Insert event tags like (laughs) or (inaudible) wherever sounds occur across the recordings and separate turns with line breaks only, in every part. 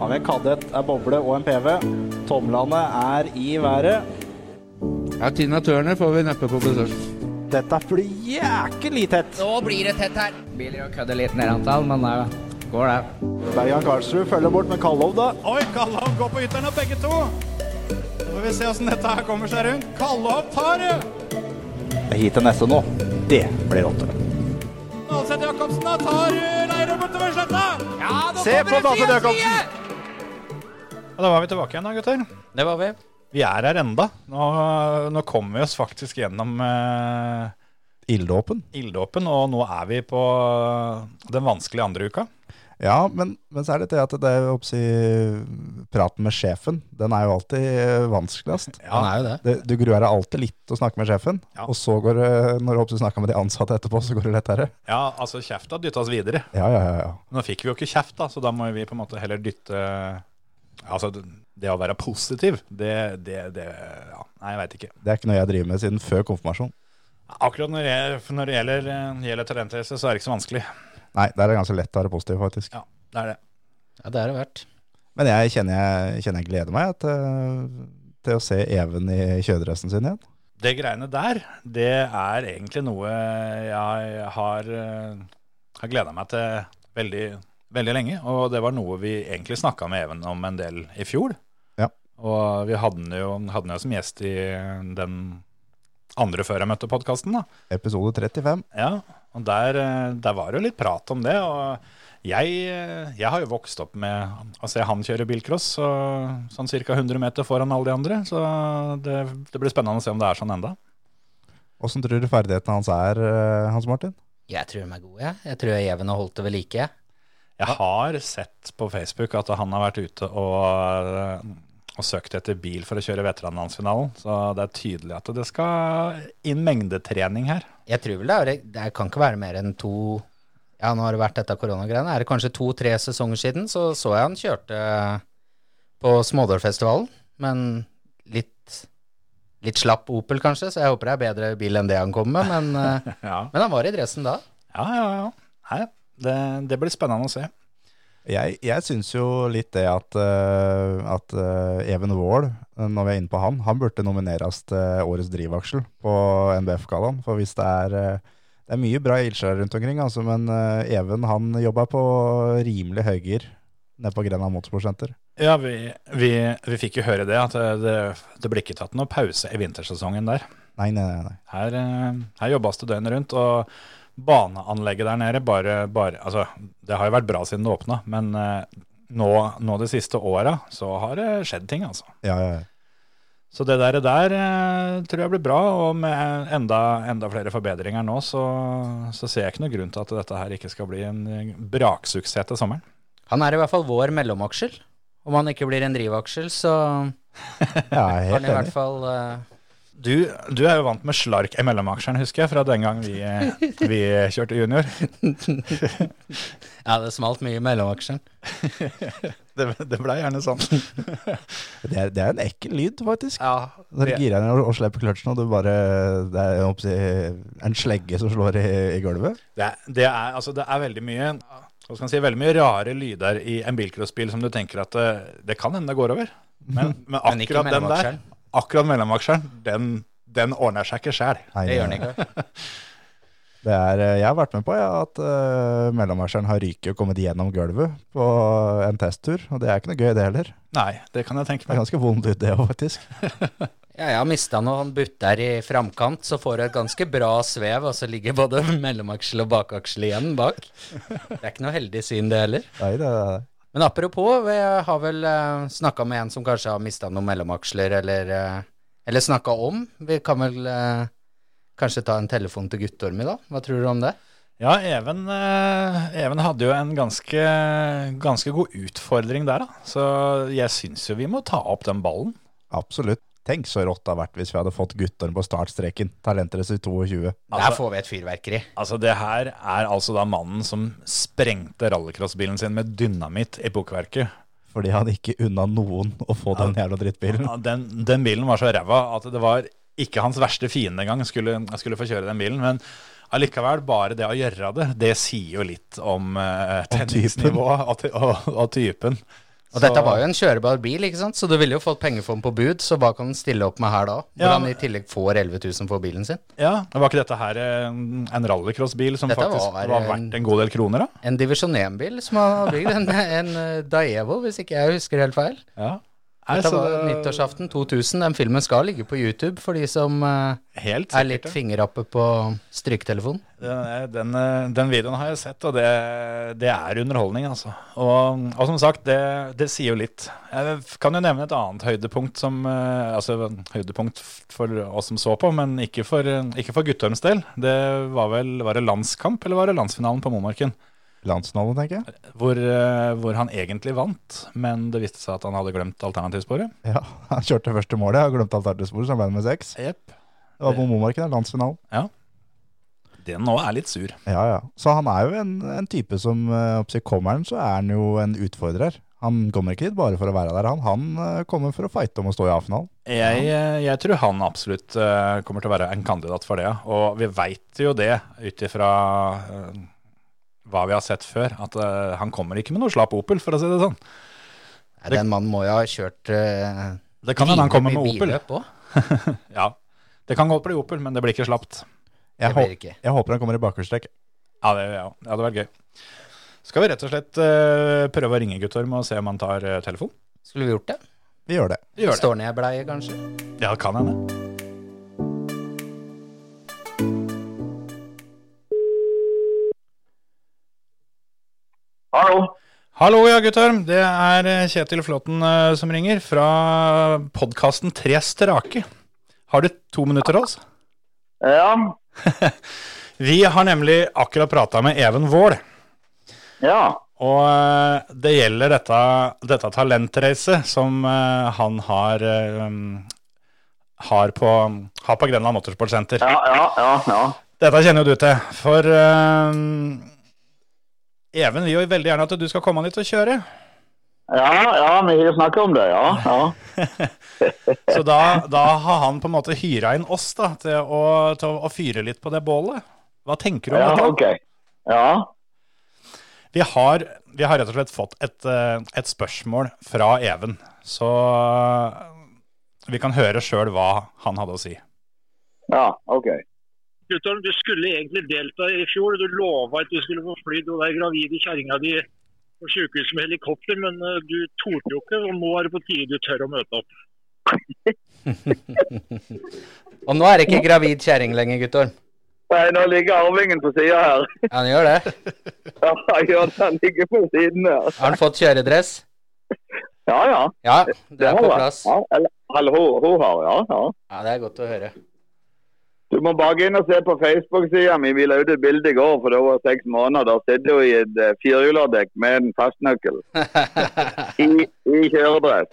Av en kadett er boble og en PV. Tomlene er i været.
Ja, Tina Turner får vi neppe på besøk.
Dette blir jækelig tett.
Nå blir det tett her.
Biler og kødder litt nedantall, men det går det.
Bergan Karlsrud følger bort med Kallov, da.
Oi, Kallov går på ytteren av begge to. Nå får vi se åssen dette her kommer seg rundt. Kallov tar det!
Det er hit til neste nå. Det blir åtte.
Nålseth Jacobsen da tar eh, Leirum utover sletta.
Ja, nå
Se på
kommer det
Daffen
side,
Jacobsen.
side!
Og da var vi tilbake igjen da, gutter.
Det var vi.
Vi er her enda. Nå, nå kommer vi oss faktisk gjennom eh,
Ilddåpen.
ilddåpen, og nå er vi på den vanskelige andre uka.
Ja, men, men så er det det at det er jo oppsi Praten med sjefen, den er jo alltid eh, vanskeligst.
Han er jo det.
Det, du gruer deg alltid litt til å snakke med sjefen,
Ja.
og så går det, når du oppsi snakker med de ansatte etterpå, så går det lettere.
Ja, altså kjefta dytta oss videre.
Ja, ja, ja. ja.
Nå fikk vi jo ikke kjeft, da, så da må vi på en måte heller dytte Altså, det å være positiv, det, det, det ja, Nei, jeg veit ikke.
Det er ikke noe jeg driver med siden før konfirmasjon.
Akkurat når det, når det gjelder, eh, gjelder talentrace, så er det ikke så vanskelig.
Nei, der er det ganske lett å være positiv, faktisk.
Ja, det er det.
Ja, det er det verdt.
Men jeg kjenner jeg, kjenner jeg gleder meg til, til å se Even i kjøredressen sin igjen.
Det greiene der, det er egentlig noe jeg har, eh, har gleda meg til veldig, veldig lenge. Og det var noe vi egentlig snakka med Even om en del i fjor.
Ja.
Og vi hadde den jo, hadde den jo som gjest i den andre før jeg møtte podkasten, da.
Episode 35.
Ja, og der, eh, der var det jo litt prat om det. Og jeg, eh, jeg har jo vokst opp med å se han kjøre bilcross, så, sånn ca. 100 meter foran alle de andre. Så det, det blir spennende å se om det er sånn enda.
Åssen tror du ferdighetene hans er, eh, Hans Martin?
Jeg tror de er gode, jeg. Jeg tror Even har holdt det ved like.
Jeg har sett på Facebook at han har vært ute og, eh, og søkt etter bil for å kjøre veteranlandsfinalen. Så det er tydelig at det skal inn mengdetrening her.
Jeg tror vel det, er, det kan ikke være mer enn to Ja, nå har det vært dette koronagreiene. Er det kanskje to-tre sesonger siden, så så jeg han kjørte eh, på Smådårfestivalen. Men litt, litt slapp Opel, kanskje, så jeg håper det er bedre bil enn det han kom med. Men, eh,
(laughs) Ja,
men han var i dressen da.
ja, ja. ja. Nei, det, det blir spennende å se.
Jeg, jeg syns jo litt det at, eh, at eh, Even Wold, eh, når vi er inne på han, han burde nomineres til årets drivaksel på NBF-gallaen. For hvis det er eh, Det er mye bra ildsjeler rundt omkring, altså, men eh, Even han jobba på rimelig høygir nede på Grenland Motorsportsenter.
Ja, vi, vi, vi fikk jo høre det, at det, det blir ikke tatt noen pause i vintersesongen der.
Nei, nei, nei. nei.
Her, eh, her jobbes det døgnet rundt, og baneanlegget der nede bare, bare Altså, det har jo vært bra siden det åpna, men eh, nå, nå de siste åra så har det skjedd ting, altså.
Ja, ja, ja.
Så det der, der eh, tror jeg blir bra, og med enda, enda flere forbedringer nå, så, så ser jeg ikke noen grunn til at dette her ikke skal bli en eh, braksuksess til sommeren.
Han er i hvert fall vår mellomaksjel. Om han ikke blir en drivaksjel, så
Jeg er
er han
helt
i
enig.
hvert fall eh,
Du, du er jo vant med slark i mellomaksjene, husker jeg, fra den gang vi, eh, vi kjørte junior.
Ja, det smalt mye i mellomaksjen.
(laughs) Det, det blei gjerne sånn.
Det er, det er en ekkel lyd, faktisk.
Ja,
Når du girer ned og- og slipper kløtsjen, og du bare Det er jeg håper å si, en slegge som slår i, i gulvet.
det, er- det, er, altså, det er veldig mye hva skal man si, veldig mye rare lyder i en bilcrossbil som du tenker at det, det kan hende det går over. (laughs) Men, men
Men ikke
akkurat den der,
mellomaksjeren.
akkurat mellomaksjeren, den, den ordner seg ikke sjæl.
Nei,
Det gjør han ikke.
Det er, eh, jeg har vært med på ja, at uh, mellommarsjeren har ryket og kommet gjennom gulvet på en testtur. Og det er ikke noe gøy, det heller.
Nei, det kan jeg tenke
Det er
meg.
ganske vondt ut, det òg, faktisk.
Ja, jeg har mista noen butter i framkant, så får du et ganske bra svev, og så ligger både (laughs) mellomaksel og bakaksel igjen bak. Det er ikke noe heldig syn, det heller.
Nei, det er
Men apropos, vi har vel uh, snakka med en som kanskje har mista noen mellomaksler, eller, eh, eller snakka om. Vi kan vel eh, kanskje ta en telefon til Guttorm i dag? Hva tror du om det?
Ja, Even, eh, Even hadde jo en ganske, ganske god utfordring der, da. Så jeg syns jo vi må ta opp den ballen.
absolutt. Tenk så rått det hadde vært hvis vi hadde fått Guttorm på startstreken. Talentrace i 22.
Der får vi et fyrverkeri.
Altså Det her er altså da mannen som sprengte rallycrossbilen sin med dynamitt i bokverket.
Fordi han ikke unna noen å få den jævla drittbilen.
Ja, den, den bilen var så ræva at det var ikke hans verste fiende engang skulle, skulle få kjøre den bilen. Men allikevel, bare det å gjøre det, det sier jo litt om uh,
typen.
tenningsnivået og, ty- og, og typen.
Og dette var jo en kjørebar bil, ikke sant? så du ville jo fått penger for den på bud, så hva kan den stille opp med her da? Hvor
Ja,
han
men-
i tillegg får 11 000 for bilen sin?
Ja, Var ikke dette her en, en rallycrossbil som
Dette
faktisk
var
var,
en-
verdt en god del kroner, da?
En Divisjon 1-bil som han har bygd, en, en eh, Daevo, hvis ikke jeg husker helt feil.
Ja. Nei,
Dette
så
var
det-
nyttårsaften 2000. Den filmen skal ligge på YouTube for de som eh,
Helt
er
sikkert,
litt
ja.
fingerappe på stryketelefonen.
Den, den, eh, den videoen har jeg sett, og det, det er underholdning, altså. Og, og som sagt, det, det sier jo litt. Jeg kan jo nevne et annet høydepunkt som eh, Altså høydepunkt for oss som så på, men ikke for, ikke for Guttorms del. Det var vel Var det landskamp, eller var det landsfinalen på Momarken?
Landsnålen, tenker jeg.
Hvor, eh, hvor han egentlig vant, men det viste seg at han hadde glemt alternativsporet.
Ja, Han kjørte første målet og glemte alternativsporet, så han ble nummer seks.
Jepp.
Det var på Momarken, da, landsfinalen.
Den nå er litt sur.
Ja, ja. Så han er jo en, en type som eh, oppsi, Kommer han, så er han jo en utfordrer. Han kommer ikke dit bare for å være der, han. Han eh, kommer for å fighte om å stå i A-finalen.
Jeg, eh, jeg tror han absolutt eh, kommer til å være en kandidat for det. ja. Og vi veit jo det ut ifra eh, hva vi har sett før, at eh, han kommer ikke med noe slapp Opel, for å si det sånn.
Nei, Den mannen må jo ha kjørt uh,
Det kan hende han kommer med Opel.
billøp òg.
(laughs) Ja, det kan godt bli Opel, men det blir ikke slapt.
Det
Jeg,
blir
hå
det ikke.
jeg håper han kommer i bakhjulstrekk.
Ja, det, ja, det hadde vært gøy. Skal vi rett og slett eh, prøve å ringe Guttorm og se om han tar uh, telefon?
Skulle vi gjort det?
Vi gjør det.
Vi gjør det.
Står ned i bleie, kanskje?
Ja, det kan hende.
Hallo.
Hallo, ja, Guttorm. Det er eh, Kjetil Flåtten eh, som ringer fra podkasten Tre strake. Har du to minutter til oss?
Ja.
Vi har nemlig akkurat prata med Even Vål,
Ja.
og eh, det gjelder dette, dette talentreiset som eh, han har, eh, um, har, på, har på Grenland Motorsportsenter.
Ja, ja, ja. ja.
Dette kjenner jo du til, for eh, Even vil jo veldig gjerne at du skal komme dit og kjøre.
Ja, ja, vi har snakket om det, ja. ja.
Så da, da har han på en måte hyra inn oss da, til å, til å fyre litt på det bålet. Hva tenker du om
Ja,
dette?
ok. Ja,
Vi har, vi har rett og slett fått et, eh, et spørsmål fra Even, så eh, vi kan høre sjøl hva han hadde å si.
ja, ok.
Guttorm, du skulle egentlig delta i fjor. Du lova at du skulle få flydd og være gravid i kjerringa di på sjukehuset med helikopter, men eh, du torde jo ikke. Og nå er det på tide du tør å møte opp.
Og nå er det ikke gravid kjerring lenger, Guttorm.
Nei, nå ligger arvingen på sida her. (laughs)
Ja, Han gjør det.
Ja, ja, den ligger på siden her.
Har han fått kjøredress?
Ja, ja.
Ja, det er
har
på
jeg.
plass.
Ja, eller, eller hun, hun har, ja, ja.
Ja, det er godt å høre.
Du må bare gå inn og se på Facebook-sida mi. Vi la ut et bilde i går, for det var seks måneder. Da sitter hun i et eh, firehjulerdekk med en
(laughs)
fastnøkkel. I, i kjøredress.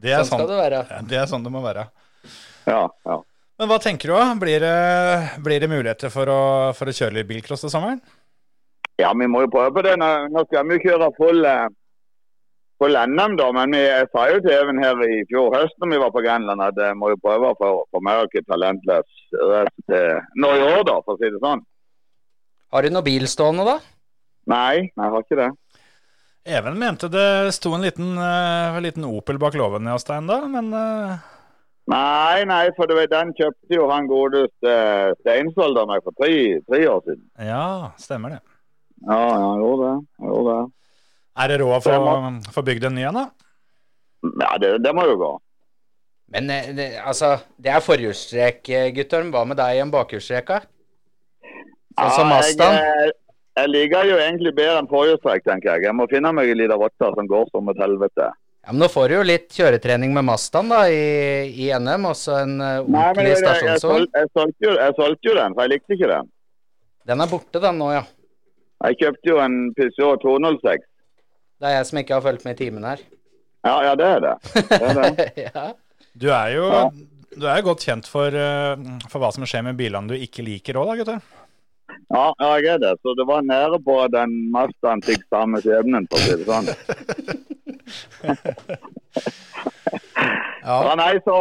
Det er
Sånn
sånn
skal det være.
det, er sånn det må være.
Ja, ja.
Men hva tenker du, da? Blir det, blir det muligheter for å, for å kjøre litt bilcross til sommeren?
Ja, vi må jo prøve på det. Nå, nå skal vi jo kjøre full, eh, full NM, da. Men vi, jeg sa jo til Even her i fjor høst når vi var på Grenland at jeg må jo prøve for, for America Talentless rest til nå i år, da, for å si det sånn.
Har du noe bil stående, da?
Nei, nei, jeg har ikke det.
Even mente det sto en liten, eh, en liten Opel bak låven hos deg ennå, men eh,
Nei, nei, for du vet, den kjøpte jo han godeste eh, Steinsvold av meg for tre, tre år siden.
ja, stemmer det.
Ja, ja, han gjorde det. Han gjorde det.
Er det råd å få- få bygd en ny en, da?
Ja, det, det må jo gå.
Men eh, det, altså, det er forhjulstrekk, eh, Guttorm. Hva med deg i en bakhjulstrekk, da? Sånn som
Ja,
Mazdaen.
Jeg, eh, jeg liker jo egentlig bedre enn forrige streik, tenker jeg. Jeg må finne meg en liten rotte som går som et helvete.
Ja, men nå får du jo litt kjøretrening med Mazdaen, da, i, i NM. Også en eh,
Nei, men
ordentlig
jeg, jeg, jeg,
stasjonsvogn.
solgte, jeg, solgte jo, jeg solgte jo den, for jeg likte ikke den.
Den er borte, den nå, ja.
Jeg kjøpte jo en Peugeot 206.
Det er jeg som ikke har fulgt med i timen her.
Ja, ja, det er det. det, er det.
(laughs) ja.
Du er jo
Ja.
du er jo godt kjent for, eh, for hva som skjer med bilene du ikke liker òg, da, gutter.
Ja, ja, jeg er det. Så det var nære på at den Mazdaen fikk samme skjebnen, for å si det sånn.
Ja.
(laughs) Ja, nei, så,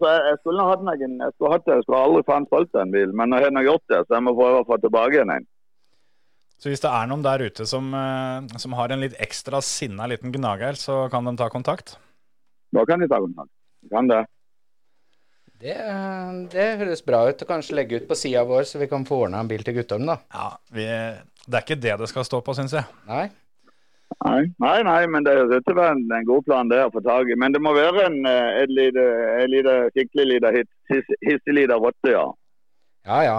så jeg, jeg skulle ha hatt meg en Jeg skulle hatt det, jeg skulle aldri faen solgt den bilen. Men nå har jeg nå gjort det, så jeg må prøve å få tilbake igjen en.
Så hvis det er noen der ute som, eh, som har en litt ekstra sinna liten gnager, så kan de ta kontakt.
Da kan de ta kontakt. De kan det.
Det, det høres bra ut. Og kanskje legge ut på sida vår, så vi kan få ordna en bil til Guttorm, da.
Ja, vi, Det er ikke det det skal stå på, syns jeg.
Nei?
Nei, nei, nei men det høres ut til å være en, en god plan det å få tak i. Men det må være en, eh, et lite, et lite skikkelig lite hit- hiss- hissig lite rotte, ja.
Ja ja.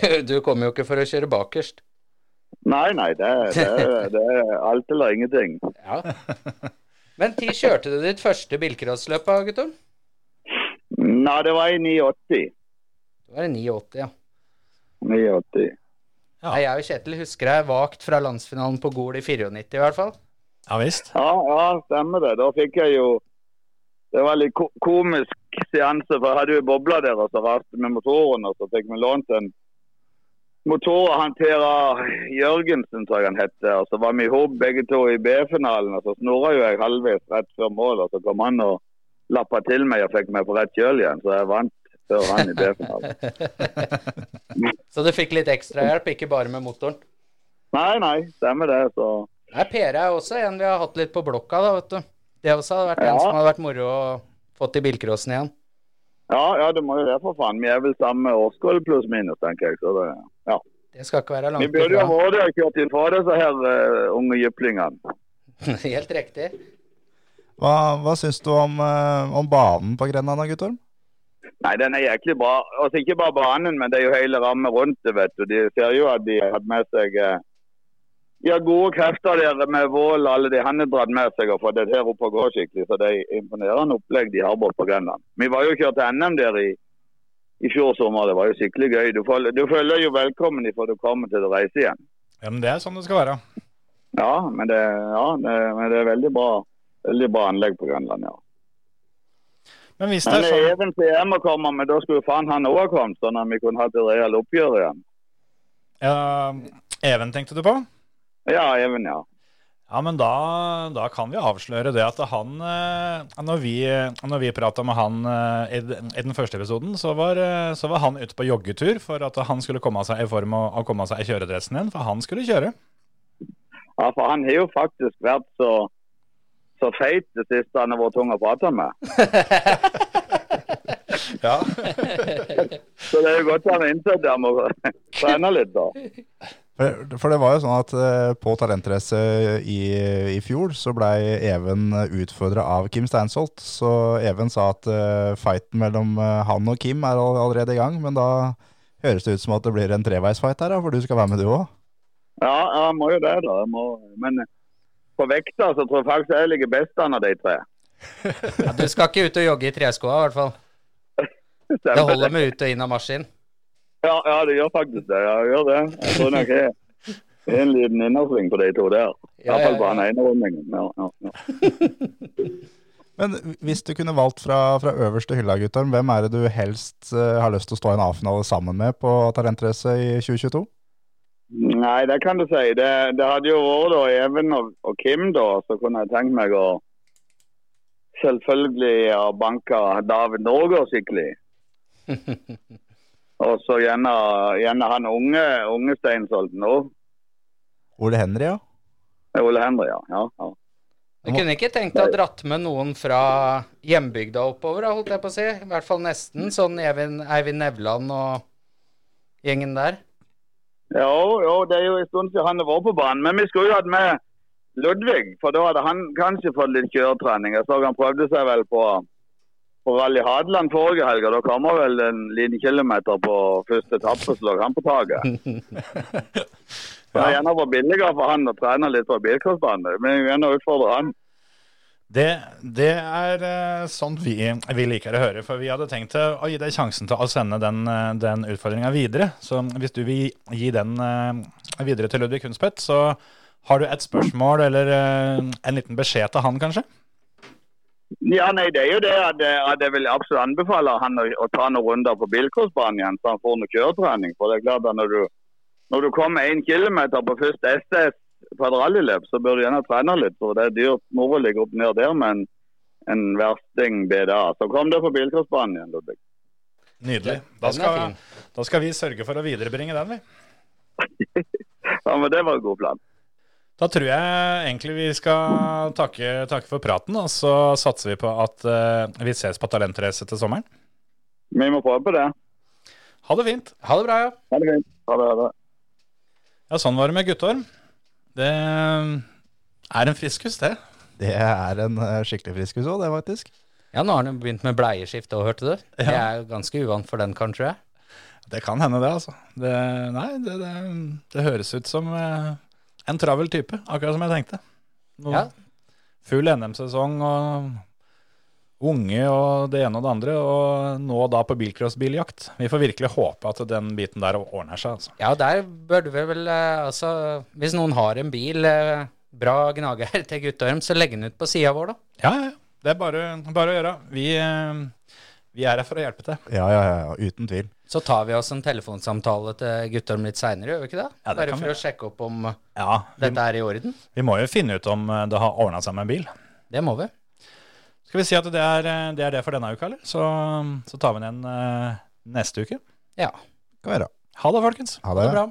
(laughs) Du, du kommer jo ikke for å kjøre bakerst.
Nei, nei, det, det, det er alt eller ingenting.
Ja.
(laughs)
Men når kjørte du ditt første bilcrossløp, da, Guttorm?
Nei, det var i 89.
Det var i 89, ja.
89.
Ja.
Nei, jeg og Kjetil husker deg vagt fra landsfinalen på Gol i 94 i hvert fall.
Ja visst.
Ja, ja, stemmer det. Da fikk jeg jo Det var litt ko komisk seanse, for jeg hadde jo bobla der, og så raste med motoren, og så fikk vi lånt en motor av han Per Jørgensen, tror jeg han het. Og så var vi i hop begge to i B-finalen, og så snurra jo jeg halvveis rett før mål, og så kom han og lappa til meg og fikk meg på rett kjøl igjen, så jeg vant før han i
(laughs)
B-finalen.
Så du fikk litt ekstrahjelp, ikke bare med motoren.
Nei, nei, stemmer det. Så
Nei, Per er E også en vi har hatt litt på blokka, da, vet du. Det også hadde vært en
Ja.
som hadde vært moro å få til bilcrossen igjen.
ja, ja, det må jo være, for faen. Vi er vel samme årskull pluss minus, tenker jeg. så det...
Det skal ikke være
Vi
langt
burde jo ha
ifra.
vært der og kjørt ifra disse her eh, unge jyplingene.
(laughs) Helt riktig.
Hva, hva syns du om, eh, om banen på Grenland da, Guttorm?
Nei, den er jæklig bra. Altså ikke bare banen, men det er jo hele rammen rundt det, vet du. De ser jo at de har hatt med seg eh, ja, gode krefter der med Vål og alle de han har dratt med seg og fått det her opp og gå skikkelig. Så det er imponerende opplegg de har borte på Grenland. Vi var jo kjørt til NM der i, i fjor sommer. Det var jo skikkelig gøy. Du, føl- du føler jo velkommen ifra du kommer til å reise igjen.
Ja, men Det er sånn det skal være.
Ja, men det, ja, det, men det er veldig bra, veldig bra anlegg på Grenland, ja.
Men hvis det
Men eh,
er
det er
sånn
egentlig jeg må komme, men da skulle faen han òg ha kommet, sånn at vi kunne hatt et reelt oppgjør igjen.
ja, Even tenkte du på?
Ja, Even, ja.
Ja, men da, da kan vi avsløre det at han eh, Når vi, når vi prata med han eh, i den- i den første episoden, så var, eh, så var han ute på joggetur for at han skulle komme seg i form og, og komme seg i kjøredressen igjen, for han skulle kjøre.
ja. For han har jo faktisk vært så, så feit det siste han har vært tung å
(laughs)
prate med.
Ja.
Så det er jo godt han har innsett det, han må
(laughs)
trene litt, da.
For, for det var jo sånn at eh, på talentrace i, i fjor så blei Even utfordra av Kim Steinsholt. Så Even sa at eh, fighten mellom eh, han og Kim er all, allerede i gang. Men da høres det ut som at det blir en treveisfight her, da, for du skal være med du òg.
Ja, ja, han må jo det, da. Jeg må, men på vekta så tror jeg faktisk jeg ligger best an av de tre.
Ja, du skal ikke ut og jogge i treskoa, i hvert fall. Det
Stemmer
holder med ut og inn av maskin.
Ja, ja, det gjør faktisk det. Ja, det gjør det. Jeg tror nok jeg har en liten innersving på de to der. I
Ja,
hvert
ja,
fall på
ja.
han ene rundingen. Ja, ja, ja.
Men hvis du kunne valgt fra, fra øverste hylla, Guttorm, hvem er det du helst eh, har lyst til å stå i en A-finale sammen med på talentrace i 2022?
Nei, det kan du si. Det, det hadde jo vært da Even og, og Kim, da. Så kunne jeg tenkt meg å selvfølgelig å banke David Norge
(laughs)
skikkelig. og så gjerne, gjerne han unge, unge Steinsholten òg.
Ole Henry, ja.
Ole Henry, ja. ja, ja.
Du kunne ikke tenkt deg å dratt med noen fra hjembygda oppover, da, holdt jeg på å si. I hvert fall nesten. Sånn Evin, Eivind Nevland og gjengen der.
Jo, jo, det er jo en stund siden han har vært på banen. Men vi skulle jo hatt med Ludvig, for da hadde han kanskje fått litt kjøretrening. Jeg så han prøvde seg vel på, på Rally Hadeland forrige helg, og da kom han vel en liten kilometer på første etappe, så lå han på taket. Så Det er gjerne vært billigere for han å trene litt på bilcrossbane. Men jeg vil gjerne utfordre han.
Det, det er eh, sånt vi, vi liker å høre, for vi hadde tenkt eh, å gi deg sjansen til å sende den, eh, den utfordringa videre. Så hvis du vil gi den eh, videre til Ludvig Hundspett, så har du et spørsmål eller eh, en liten beskjed til han, kanskje?
Ja, nei, det er jo det at, eh, at jeg vil absolutt anbefale han å, å ta noen runder på bilcrossbanen igjen, så han får noe kjøretrening. For det er klart at når du, når du kommer én kilometer på første SS på et rallyløp, så bør du gjerne trene litt. For det er dyrt moro å ligge opp ned der med en, en versting BDA. Så kom deg på bilcrossbanen igjen, Ludvig.
Nydelig.
Den
Da
er
skal,
fin.
da skal vi sørge for å viderebringe den, vi.
Ja, men det var en god plan.
Da tror jeg egentlig vi skal takke, takke for praten, og så satser vi på at eh, vi ses på Talentrace til sommeren.
Vi må prøve på det.
Ha det fint.
Ha det bra, ja.
Ha det fint. Ha det, ha det.
Ja, sånn var det med Guttorm. Det eh, er en friskus, det.
Det er en eh, skikkelig friskus òg, det, faktisk.
Ja, nå har han jo begynt med bleieskift òg, hørte du. Jeg er jo ganske uvant for den, kanskje.
Det kan hende, det, altså. Det, nei, det, det, det høres ut som eh, en travel type, akkurat som jeg tenkte. Nå-
Ja.
Full NM-sesong og unge og det ene og det andre, og nå da på bilcrossbiljakt. Vi får virkelig håpe at den biten der ordner seg, altså.
Ja, der burde vi vel eh, Altså, hvis noen har en bil, eh, bra gnager til Guttorm, så legg den ut på sida vår, da.
Ja, ja, ja. Det er bare, bare å gjøre. Vi, eh, vi er her for å hjelpe til.
Ja, ja, ja, ja, uten tvil.
Så tar vi oss en telefonsamtale til Guttorm litt seinere, gjør vi ikke det?
Ja, det
Bare
kan
for
vi
å sjekke opp om
Ja, vi,
dette er i orden.
vi må jo finne ut om eh, det har ordna seg med en bil.
Det må vi.
Skal vi si at det er eh, det, er det for denne uka, eller? Så, så tar vi den igjen eh, neste uke.
Ja.
Kan være.
Ha det, folkens.
Ha
Ha
det.
det bra.